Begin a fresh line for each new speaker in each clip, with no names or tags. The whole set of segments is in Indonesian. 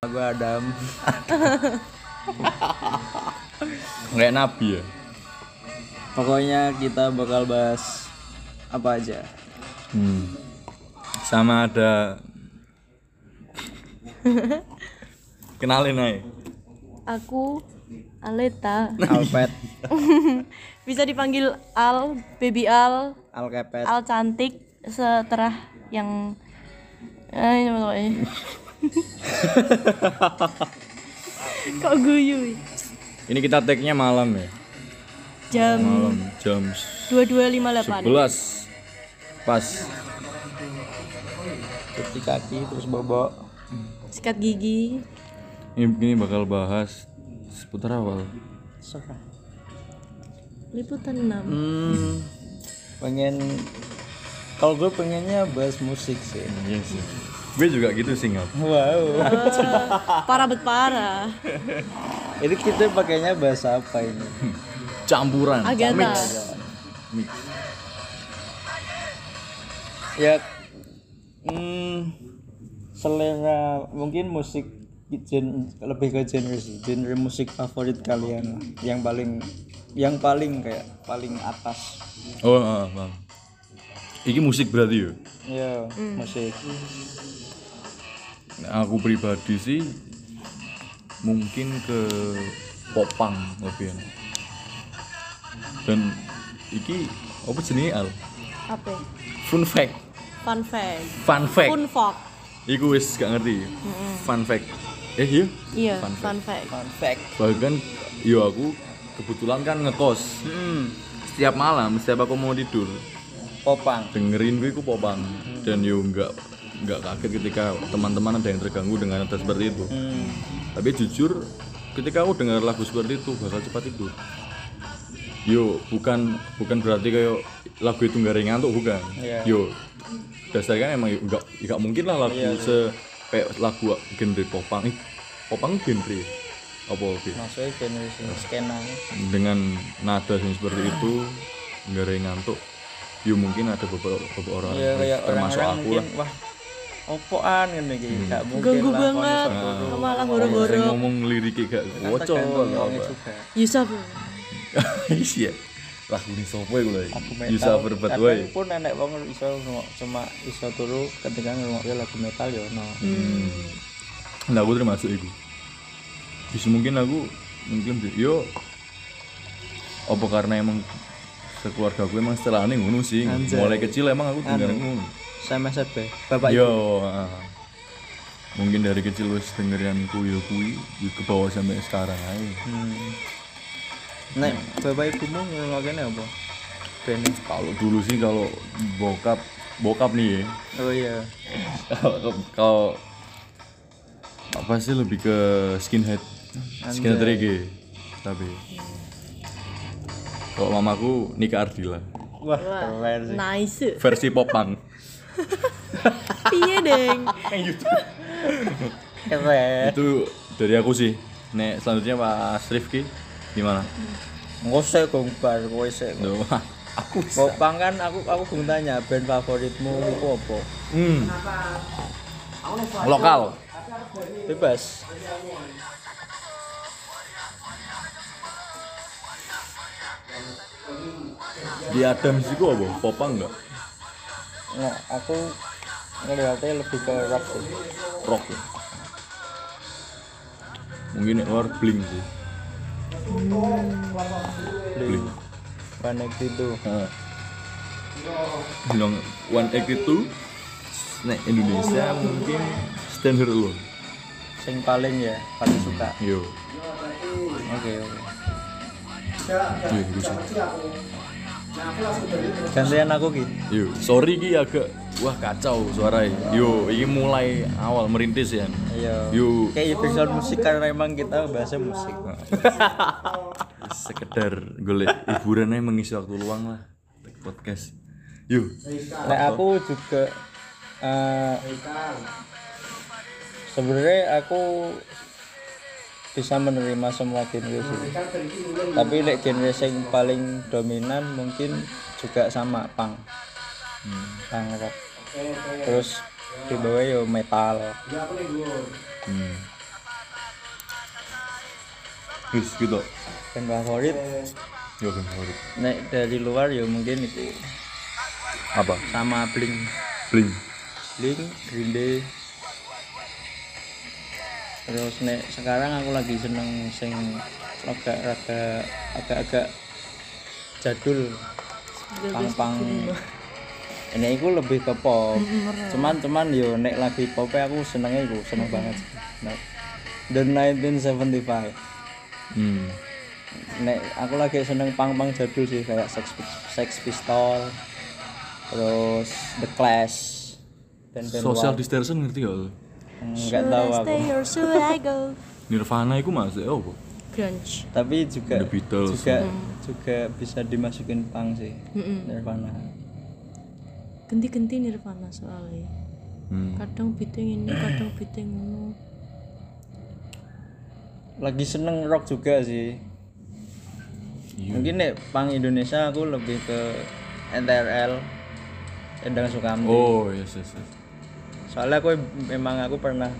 Adam kayak nabi ya
Pokoknya kita bakal bahas apa aja.
Hmm. sama ada kenalin aja
Aku Aleta.
Alpet,
Bisa dipanggil Al, Baby Al,
Alkepet,
Al cantik, seterah yang eh ini apa namanya? Kok guyu?
ini kita tag-nya malam ya
Jam
malam jam
22.58.
11 pas
cuci kaki terus bobok.
Sikat gigi.
ini, ini bakal bahas seputar awal
Serah.
Liputan 6.
Hmm, pengen kalau gue pengennya bahas musik sih.
Iya sih. Gue juga gitu sih ngap.
Wow.
Parah bet parah.
Ini kita pakainya bahas apa ini?
Campuran.
Agatha.
Ya hmm, selera mungkin musik gen, lebih ke genre sih. Genre musik favorit kalian lah. yang paling yang paling kayak paling atas.
Oh, ah, paham. Iki musik berarti ya.
Ya,
Hmm.
musik.
Nah, aku pribadi sih mungkin ke popang lebih enak. Dan iki apa jenenge al?
Apa? ya?
Fun fact.
Fun fact.
Fun fact.
Fun fact.
Iku wis gak ngerti. Fun fact. Eh iya.
Iya,
Fun fact.
fun fact.
Fun fact.
Bahkan yo aku kebetulan kan ngekos. Setiap malam, setiap aku mau tidur,
Popang.
dengerin gue ku popang dan yo nggak nggak kaget ketika teman-teman ada yang terganggu dengan ada seperti itu tapi jujur ketika aku dengar lagu seperti itu bakal cepat tidur yo bukan bukan berarti kayak lagu itu nggak ringan tuh bukan
Iya.
yo dasarnya emang yo nggak nggak mungkin lah lagu se kayak lagu genre popang Ih, popang genre ya? apa oke
Maksudnya genre sih, skena.
dengan nada yang seperti itu nggak ada yang ngantuk ya mungkin ada beberapa, beberapa orang
Ya kayak
termasuk
orang-orang
aku
mungkin
lah Hmm.
wah opoan ngene iki. Gak mungkin
Ganggu
lah, gitu.
banget.
konsep
Nah.
guru.
Malah
Orang sering
boro-boro.
ngomong liriknya gak wocok Iya,
Tergantung
apa
orangnya juga.
Yusuf.
iya lagu ini sopo ya gue
Aku metal.
Yusa berbuat
Kadang
wae
pun nenek wong iso ngrungok cuma iso turu ketika ngrungokke lagu metal ya ono.
Hmm.
nah aku termasuk itu bisa mungkin aku mungkin di- yo apa karena emang sekeluarga gue emang setelah aneh ngono sih mulai kecil emang aku dengar
Anu.
ngono
Sama sebe. Bapak
yo ah. mungkin dari kecil wis dengerin kuyo kui yo ya ke bawah sampai sekarang aja
Hmm. Nek bapak ibumu ngrungokke nek apa? Bene.
kalau dulu sih kalau bokap bokap nih ya
Oh iya.
kalau kalau apa sih lebih ke skinhead skinhead reggae tapi kalau mamaku Nika Ardila
Wah, keren
Nah.
sih.
Nice.
versi popang
Piye, Deng?
Keren.
itu dari aku sih nek selanjutnya Pak Rifki gimana
Ngosek gongbar kowe sik.
Duh, aku
Popang kan aku aku belum tanya band favoritmu iku apa?
hmm. lokal
Bebas.
di Adams itu apa popang nggak
Nggak, aku ngeliatnya lebih ke rock sih.
rock ya? mungkin nek luar bling sih
Blink. One itu.
Long One Act itu nek Indonesia mungkin Stand Her Alone.
Sing paling ya, paling suka.
Yo.
Oke, oke.
Yo, iku sih.
Gantian aku ki.
Yo, sorry ki agak wah kacau suaranya. Yo, ini mulai awal merintis ya.
Iya.
Yo,
Kayak background musik karena emang kita bahasa musik.
sekedar golek hiburan aja mengisi waktu luang lah. Podcast. Yo,
Nah, aku juga eh sebenarnya aku bisa menerima semua genre sih. Tapi lek genre sing paling dominan mungkin juga sama punk. Punk rock. ya Terus di bawah yo metal.
hmm. Wis gitu.
band favorit
Yo band favorit.
nek dari luar ya mungkin itu
Apa?
sama Blink
Blink.
Blink Green Day terus nek sekarang aku lagi seneng sing agak agak agak agak jadul pang-pang ini aku lebih ke pop cuman cuman yo nek lagi pop aku senengnya aku seneng banget Nah, The 1975
Hmm.
nek aku lagi seneng pang-pang jadul sih kayak Sex, Pis- Sex Pistol terus The Clash dan band
Social distancing ngerti gak? lo?
Hmm, nggak tahu aku
Stay or should I go?
Nirvana itu maksudnya apa?
Grunge.
tapi juga
The Beatles. Hmm.
juga juga bisa dimasukin pang sih
Hmm.
Nirvana
Ganti-ganti Nirvana soalnya.
Hmm.
Kadang biting ini, kadang biting itu.
lagi seneng rock juga sih
Iya.
mungkin nek pang Indonesia aku lebih ke NTRL Endang Sukamti
Oh yes yes yes.
soalnya aku memang aku pernah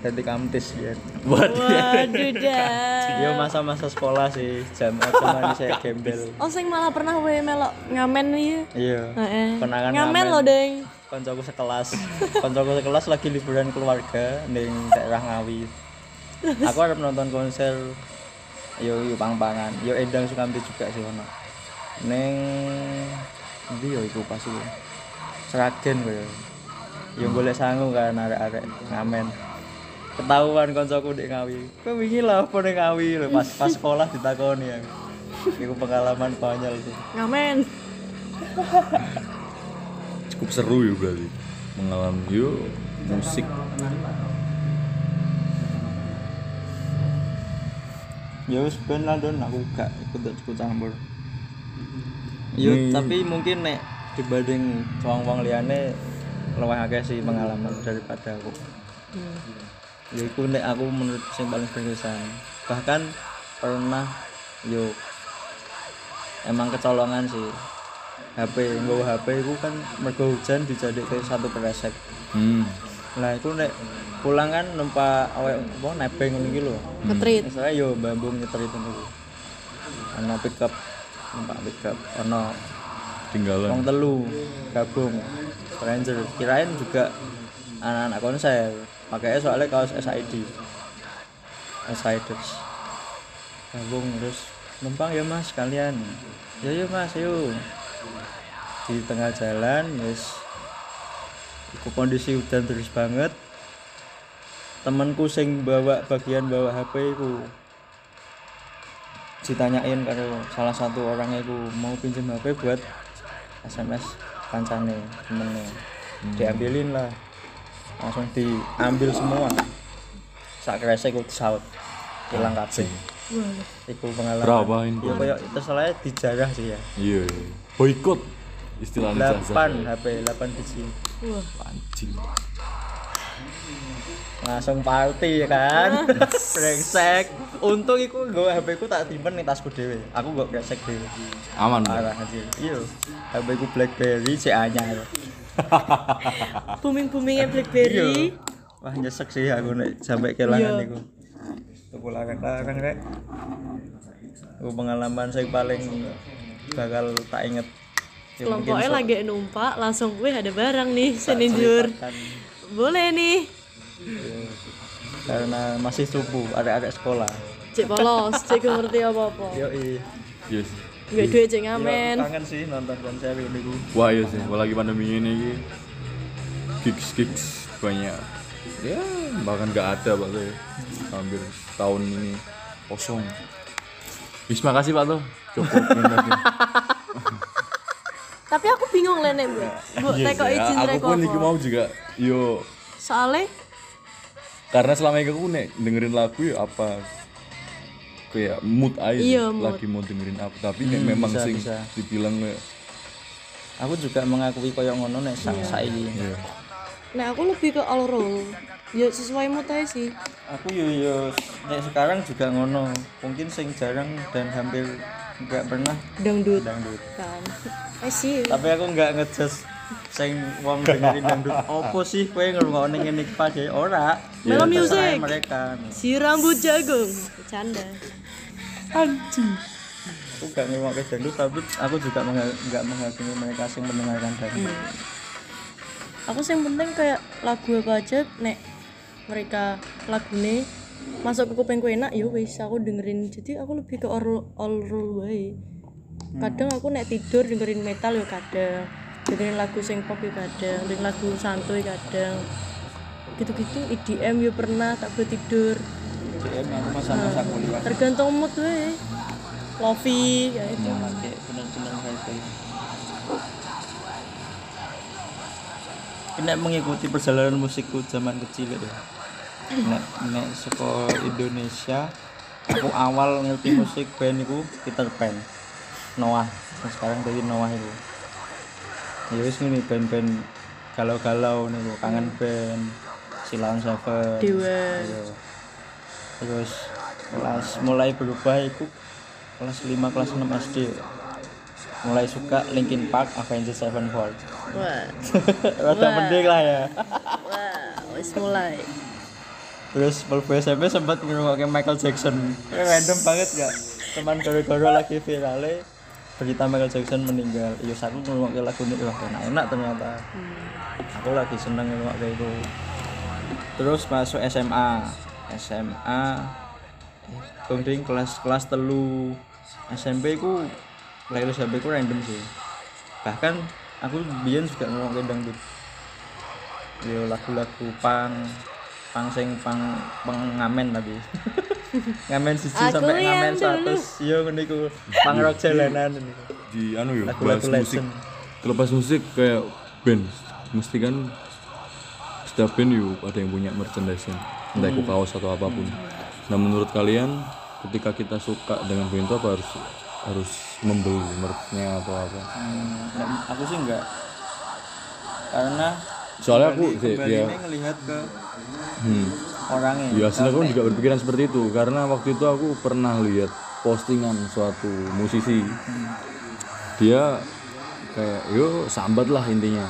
jadi kamtis biar
Waduh dah.
Iya masa-masa sekolah sih jam cuman saya gembel.
Oh, sing malah pernah wae melok ngamen iya.
Iya.
Heeh.
Kenangan
Ngamen
ngamen.
lo, Deng.
Koncoku sekelas, koncoku sekelas lagi liburan keluarga ning daerah Ngawi. Aku harap nonton konser yo yo pang-pangan, yo Endang Sukamti juga sih ono. Ning ndi yo iku pas iku. Seragen koyo. Yo golek sangu kan arek-arek ngamen. Ketahuan koncoku di Ngawi. Kowe wingi lho apa ning Ngawi lho pas pas sekolah ditakoni aku. Iku pengalaman konyol sih.
Ngamen.
Cukup seru ya berarti mengalami yo musik.
ya wis ben lah Don aku gak ikut ikut campur yo tapi mungkin nek dibanding wong-wong liyane luwih akeh sih pengalaman daripada aku ya iku nek aku menurut sing paling berkesan bahkan pernah yo emang kecolongan sih HP nggo HP itu kan mergo hujan dijadikan satu peresek
Hmm.
nah itu nek pulang kan numpak awet apa nebeng ngono iki lho
Ngetrit.
saya yo bambung nyetir itu dulu ono pick up numpak pick up ono wong
Tinggalan.
telu gabung stranger kirain juga anak-anak konser pakainya soalnya kaos SID SIDers gabung terus numpang ya mas kalian ya yuk mas yuk di tengah jalan wis iku kondisi hujan terus banget temanku sing bawa bagian bawa HP ku ditanyain karo salah satu orang itu mau pinjam HP buat SMS kancane temennya
Hmm.
diambilin lah langsung diambil semua sak kresek ku disaut hilang kabeh iku pengalaman
Berapa ini?
ya kayak itu salahnya dijarah sih ya
Iya. iya. Boykot istilahnya.
8 HP 8 biji
Wah,
Anjing.
langsung party ya kan brengsek untung iku gue HP ku tak simpen nih tasku dewe aku gak kresek dewe
Aman. Bro.
parah anjir iya HP ku Blackberry si anyar
booming-boomingnya
Iya.
BlackBerry.
wah nyesek sih aku nek sampai kehilangan
Iya.
iku tuku larang-larang rek aku pengalaman saya paling bakal tak inget Ya, mungkin
Kelompoknya lagi numpak, langsung gue ada barang nih, seninjur.
selipatan.
Boleh nih,
karena masih subuh arek-arek sekolah
cek polos, cek gak ngerti apa-apa.
yo i
Yes.
Gak duit cek ngamen.
kangen sih nonton konser ini ku
Wah iya sih. Apalagi pandemi ini iki. gigs gigs banyak. Ya bahkan gak ada pak Toh, ya. Hampir tahun ini kosong. Wis makasih pak Toh. Cukup.
Tapi aku bingung lah nek, Bu. Bu, teko
Ya,
izin
aku
rek
pun iki
apa.
mau juga. Yo
Soalnya
karena selama ini aku nek dengerin lagu ya apa kayak mood aja sih,
Iya, mood.
lagi mau dengerin apa tapi nek memang
Hmm, bisa,
sing
bisa.
dibilang kayak
aku juga mengakui koyo ngono nek
Iya.
sak saiki
ya,
Nah aku lebih ke all roll. Ya sesuai mood aja sih.
aku yo yo nek sekarang juga ngono mungkin sing jarang dan hampir nggak pernah
Dangdut
dangdut
kan. I see. you.
tapi aku nggak ngejudge sing wong dengerin dangdut opo sih kowe ngrungokne ngene iki pas ya ora
Melo
Terserah
music.
mereka
Si rambut jagung. Bercanda.
anjing aku gak ngomong dangdut tapi aku juga mengha- nggak menghakimi mereka yang mendengarkan dangdut
aku sih yang penting kayak lagu apa aja nek mereka lagune masuk ke kupingku enak ya wis aku dengerin jadi aku lebih ke all all rule wae kadang aku nek tidur dengerin metal ya kadang dengerin lagu sing pop ya kadang dengerin lagu santuy kadang gitu-gitu EDM ya pernah tak gue tidur
DM aku masa masa kuliah
tergantung mood wae lofi kayak gitu.
pakai benar-benar hype kena mengikuti perjalanan musikku zaman kecil ya nek nek saka Indonesia aku awal ngerti musik band iku Peter Pan Noah Nah, sekarang dari Noah itu ya wis ngene band-band galau-galau niku kangen band Silaun Seven
Dewa.
Iya. terus kelas mulai berubah itu kelas 5 kelas 6 SD mulai suka Linkin Park Avenged Sevenfold
wah
rada mending lah ya
wah wis mulai
terus waktu SMP sempat ngerungoknya Michael Jackson random banget gak teman gara-gara lagi virale berita Michael Jackson meninggal iya aku ngerungoknya lagu ini wah enak enak ternyata aku lagi seneng ngerungoknya itu terus masuk SMA SMA kemudian kelas kelas telu SMP ku playlist SMP ku random sih bahkan aku biyen juga ngerungoknya dangdut yo lagu-lagu pang pang sing pang pengamen tapi ngamen siji
Aku
sampai
yang
ngamen
dulu.
100 yo ngene iku pang rock jalanan ini.
di anu ya
Lagu-lagu
bahas musik
legend.
terlepas musik kayak band mesti kan setiap band yuk ada yang punya merchandising entah itu kaos atau apapun nah menurut kalian ketika kita suka dengan band itu apa harus harus membeli merchnya atau apa
Hmm, nek- aku sih enggak karena
soalnya aku
Iya,
sih,
kembali
ya
ini ngelihat ke
hmm.
orangnya
Iya.
Ya aslinya aku juga berpikiran seperti itu karena waktu itu aku pernah lihat postingan suatu musisi. Dia kayak yo sambat lah intinya.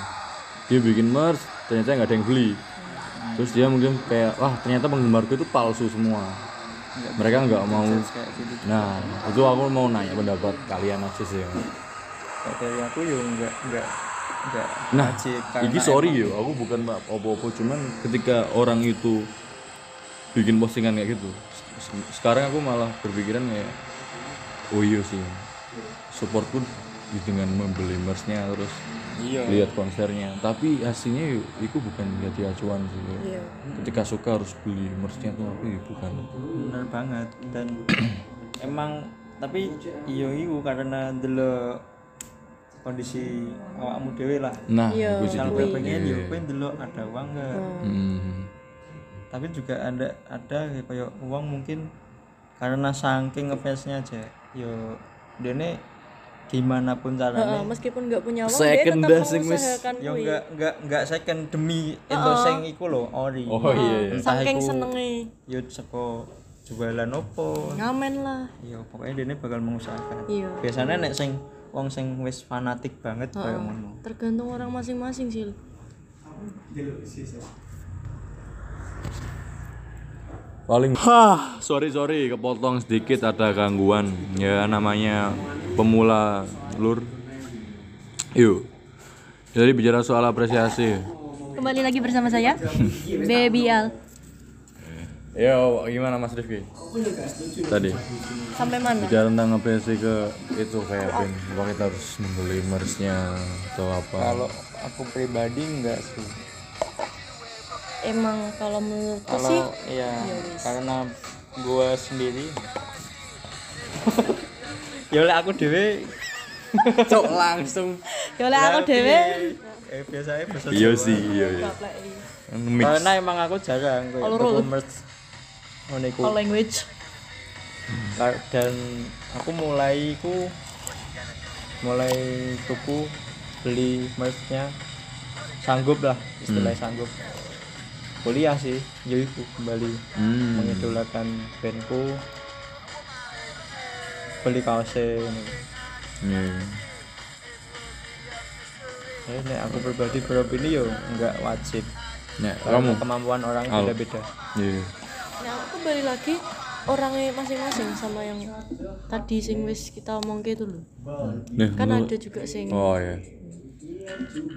Dia bikin merch ternyata nggak ada yang beli. Terus dia mungkin kayak wah ternyata penggemarku itu palsu semua. Mereka nggak mau.
kayak gitu
Nah itu aku mau nanya pendapat kalian aja sih. ya.
Kayak dari aku ya yo enggak enggak enggak
Nah,
wajib,
Ini
Iya.
karena
sorry yo, aku bukan mbak opo-opo cuman ketika orang itu bikin postingan kayak gitu, se- se- sekarang aku malah berpikiran kayak oh iya sih, supportku di- dengan membeli merchnya terus
iya
lihat konsernya, tapi aslinya yo, itu bukan jadi acuan sih. yo.
iya
Ketika suka harus beli merchnya tuh aku yo, bukan.
bener banget dan emang tapi iyo iyo karena dulu kondisi awakmu dewe lah
Nah,
Iya,
aku sih
kalau
juga
gue pengen yo
pengen.
pengen dulu ada uang nggak
Hmm.
tapi juga ada ada kayak uang mungkin karena saking ngefansnya aja yo dene gimana pun
Heeh,
caranya
meskipun nggak punya uang dia
Second
tetap
dah sing wis.
mengusahakan
yo
kuwi.
nggak nggak nggak second demi endoseng iku loh ori
Oh iya, iya.
saking
iku-
senenge
yo seko jualan opo
ngamen lah
Iya, pokoknya dene bakal mengusahakan.
Iya.
Biasanya nek sing wong sing wis fanatik banget kayak ngono.
tergantung orang masing-masing sih
paling hah sorry sorry kepotong sedikit ada gangguan ya namanya pemula lur yuk jadi bicara soal apresiasi
kembali lagi bersama saya Baby Al
ya gimana Mas Rifki tadi
sampai mana
bicara tentang apresiasi ke itu kayak band apa kita harus membeli merchnya atau apa
Kalau aku pribadi enggak sih.
emang kalau menurutku sih
Kalau ya karena gua sendiri Ya oleh aku dhewe cok langsung.
ya oleh aku dewe
Eh biasanya bisa
iya sih iya iya mix
Karena emang aku jarang kayak
All
tuku
rule.
merch ngono iku.
Oh.
all language
Ka- dan aku mulai ku mulai tuku beli merchnya sanggup lah
Hmm.
istilahnya sanggup kuliah sih jadi ku kembali
Hmm.
mengidolakan bandku beli kaosnya ini
Iya, iya.
eh, nek aku pribadi beropini yo nggak wajib
Nek,
Karena
kamu
kemampuan orang
Al.
beda-beda
iya
nah aku kembali lagi orangnya masing-masing sama yang tadi sing wis kita omong itu loh
Nah,
kan
menurut-
ada juga sing
Oh ya.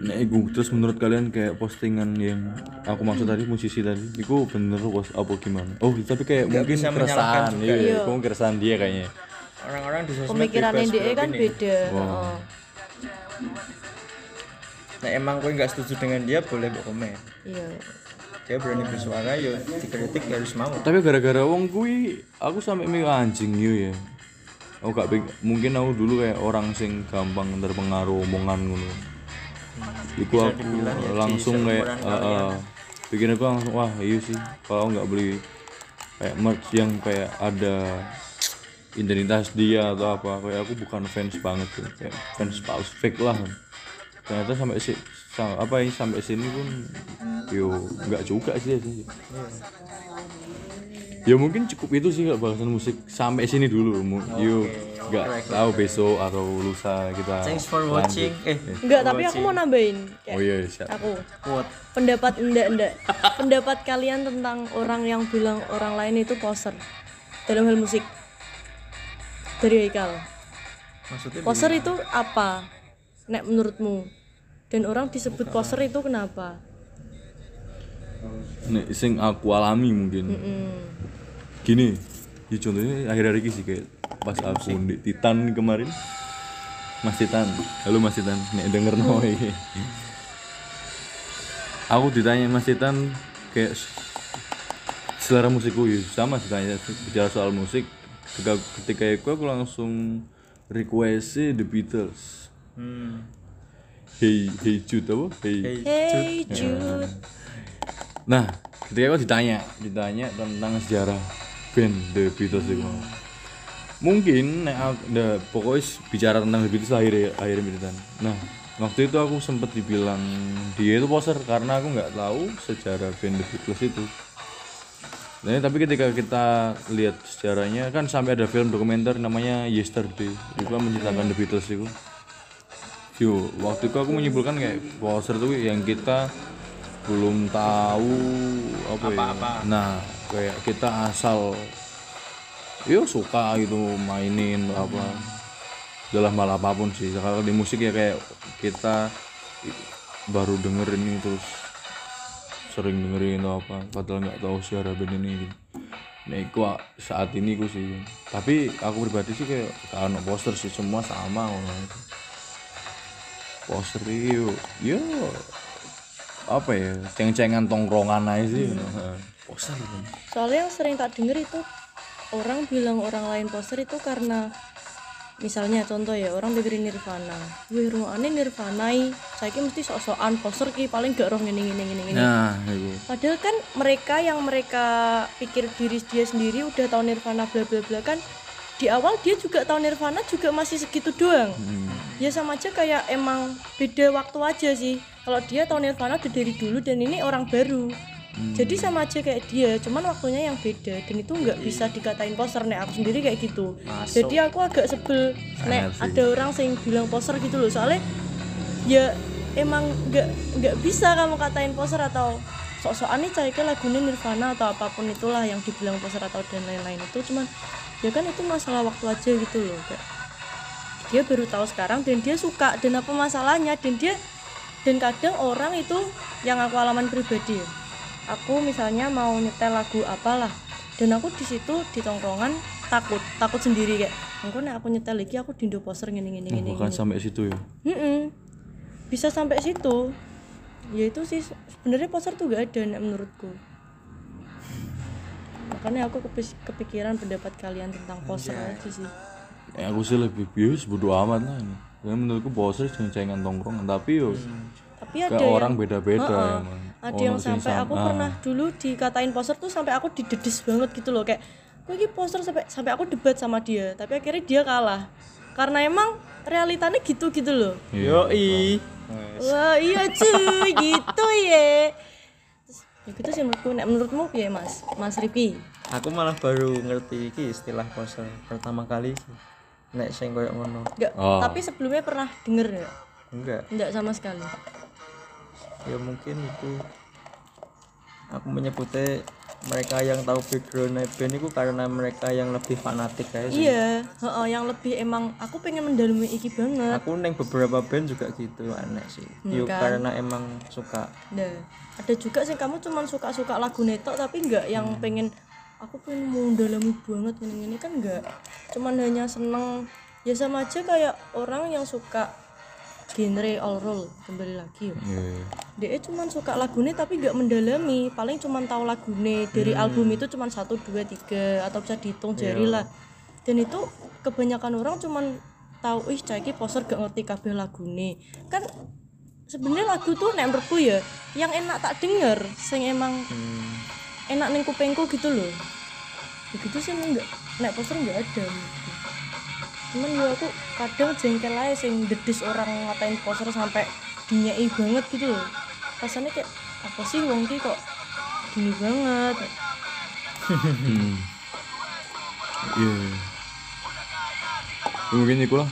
Nah, iku terus menurut kalian kayak postingan yang aku maksud tadi musisi tadi, itu bener was apa gimana? Oh, tapi kayak mungkin
bisa
keresahan, iya,
Iya.
iya. Kamu keresahan dia kayaknya.
orang-orang di sosmed
pemikirannya
bebas
dia kan
beropini.
beda
Oh.
heeh.
nah emang kowe nggak setuju dengan dia boleh mbok komen
iya
dia berani bersuara yo dikritik ya harus mau
Tapi gara-gara wong kui, aku sampe mikir anjing yo ya. Aku gak ping- mungkin aku dulu kayak orang sing gampang terpengaruh omongan ngono. Iku aku langsung kayak eh, eh, bikin aku langsung wah iya sih kalau aku nggak beli kayak merch yang kayak ada identitas dia atau apa kayak aku bukan fans banget tuh kayak fans palsu fake lah ternyata sampai si sa- apa ini sampai sini pun yo nggak juga sih, sih. Ya mungkin cukup itu sih kalau bahasan musik sampai sini dulu. Mu- Yuk nggak tahu besok atau lusa kita.
thanks for watching eh
enggak tapi aku mau nambahin kayak
Oh iya siap.
aku
quote
pendapat enggak enggak pendapat kalian tentang orang yang bilang orang lain itu poser dalam hal musik dari Haikal
maksudnya
poser itu apa nek menurutmu dan orang disebut poser itu kenapa
Nek sing aku alami mungkin.
Hmm.
Gini, ya contohnya akhir-akhir ini sih kayak pas aku di Titan kemarin. Mas Titan, halo Mas Titan, nek denger no iki. Aku ditanya Mas Titan kayak s- selera musikku ya sama ditanya bicara soal musik ketika, ketika itu aku langsung request The Beatles.
hmm.
Hey, hey Jude apa? Hey,
hey Jude Ya.
Nah, ketika aku ditanya, ditanya tentang sejarah band The Beatles itu. Mungkin nek aku- the, pokoknya s- bicara tentang The Beatles akhir akhir militan. Nah, waktu itu aku sempat dibilang dia itu poser karena aku nggak tahu sejarah band The Beatles itu. Nah, tapi ketika kita lihat sejarahnya kan sampai ada film dokumenter namanya Yesterday juga menceritakan The Beatles itu. Yo, waktu itu aku menyimpulkan kayak poser tuh yang kita belum tahu apa, ya. Nah, kayak kita asal yo suka gitu mainin apa. Dalam hal apapun sih. Kalau di musik ya kayak kita baru denger ini terus sering dengerin atau apa padahal nggak tahu sejarah band ini gitu. Nah, iku a- saat ini ku sih. Tapi aku pribadi sih kayak kan poster sih semua sama ngono itu poster yo yo apa ya ceng-cengan tongkrongan aja sih poster
soalnya yang sering tak denger itu orang bilang orang lain poser itu karena misalnya contoh ya orang dengerin Nirvana wih ruangannya Nirvana saya mesti sok-sokan poser ki paling gak roh ngene ngene ngene ngene
nah itu
Padahal kan mereka yang mereka pikir diri dia sendiri udah tahu Nirvana bla bla bla kan di awal dia juga tahu Nirvana juga masih segitu doang. Ya sama aja kayak emang beda waktu aja sih. Kalau dia tahu Nirvana udah dari dulu dan ini orang baru. Jadi sama aja kayak dia, cuman waktunya yang beda dan itu nggak bisa dikatain poser nek aku sendiri kayak gitu. Jadi aku agak sebel nek
Aneh sih.
ada orang yang bilang poser gitu loh soalnya ya emang nggak nggak bisa kamu katain poser atau sok-sokan nih cari lagunya Nirvana atau apapun itulah yang dibilang poser atau dan lain-lain itu cuman ya kan itu masalah waktu aja gitu loh kayak dia baru tahu sekarang dan dia suka dan apa masalahnya dan dia dan kadang orang itu yang aku alaman pribadi ya. aku misalnya mau nyetel lagu apalah dan aku di situ di tongkrongan takut takut sendiri kayak engko nek aku nyetel lagi aku dindo poser ngene ngene ngene
bukan
ngene."
sampai situ ya
Mm-mm. bisa sampai situ ya itu sih sebenarnya poser tuh gak ada nek menurutku makanya aku kepis- kepikiran pendapat kalian tentang poser aja sih
ya, aku sih lebih bius bodo amat lah ini karena menurutku poster ceng-cengan tongkrongan tapi yo
tapi
kayak
Hmm. ada yang
orang beda-beda
Heeh.
emang
ada
Ono
yang
sing
sampai
sam-
aku
ah.
pernah dulu dikatain poser tuh sampai aku didedes banget gitu loh kayak gue ini poser sampai sampai aku debat sama dia tapi akhirnya dia kalah karena emang realitanya gitu gitu loh
yo i
Wah iya cuy gitu ya. Terus, ya gitu sih menurutku. Nek menurutmu ya mas, mas Rifki.
aku malah baru ngerti iki istilah poser pertama kali sih nek sing koyo ngono
Enggak.
Oh.
Tapi sebelumnya pernah denger ya?
enggak
Enggak sama sekali.
ya mungkin itu aku menyebutnya mereka yang tahu background band itu karena mereka yang lebih fanatik kayak
iya heeh, yang lebih emang aku pengen mendalami iki banget
aku neng beberapa band juga gitu aneh sih yuk karena emang suka
nah ada juga sih kamu cuman suka-suka lagu netok tapi nggak yang pengen aku pengen mendalami banget ini kan nggak cuman hanya seneng ya sama aja kayak orang yang suka genre all roll kembali lagi ya
Iya.
dia cuman suka lagune tapi nggak mendalami paling cuman tahu lagune dari album itu cuman satu dua tiga atau bisa dihitung jari lah dan itu kebanyakan orang cuman tahu ih cah iki poser gak ngerti kabeh lagune kan sebenarnya lagu tuh nek menurutku ya yang enak tak denger sing emang enak ning kupengku gitu loh begitu sih enggak nek poster enggak ada menurutku. cuman ya aku kadang jengkel aja sing dedis orang ngatain poster sampai dinyai banget gitu loh rasanya kayak apa sih wong ki kok gini banget
Hmm. Iya. iya. Ya, mungkin ikulah.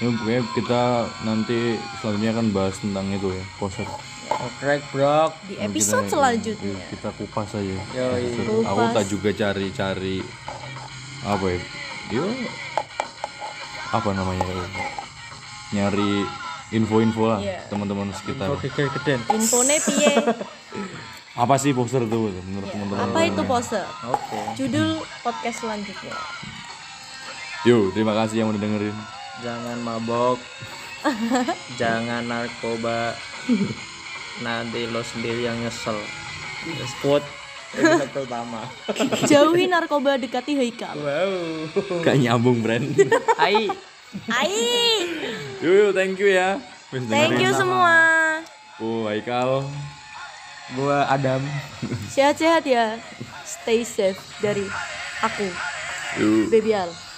Ya, pokoknya kita nanti selanjutnya akan bahas tentang itu ya, poster.
Oh, crack bro
di episode selanjutnya
Ya, kita kupas aja.
Yoi.
Poster. Aku tak juga cari-cari apa ya? Yo, apa namanya? ya? Nyari info-info lah
Iya.
teman-teman sekitar.
geger geden
infone piye
Apa sih poster itu menurut teman-teman?
apa itu poster
oke
judul podcast selanjutnya
Yo, terima kasih yang udah dengerin.
jangan mabok jangan narkoba nanti lo sendiri yang nyesel spot episode pertama
jauhi narkoba dekati Haikal
wow
Gak nyambung brand.
hai
Ai
yo, yo, thank you ya. Wis
thank you semua
Oh, Haikal.
gua Adam
sehat-sehat ya stay safe dari aku
Yuk.
Baby Al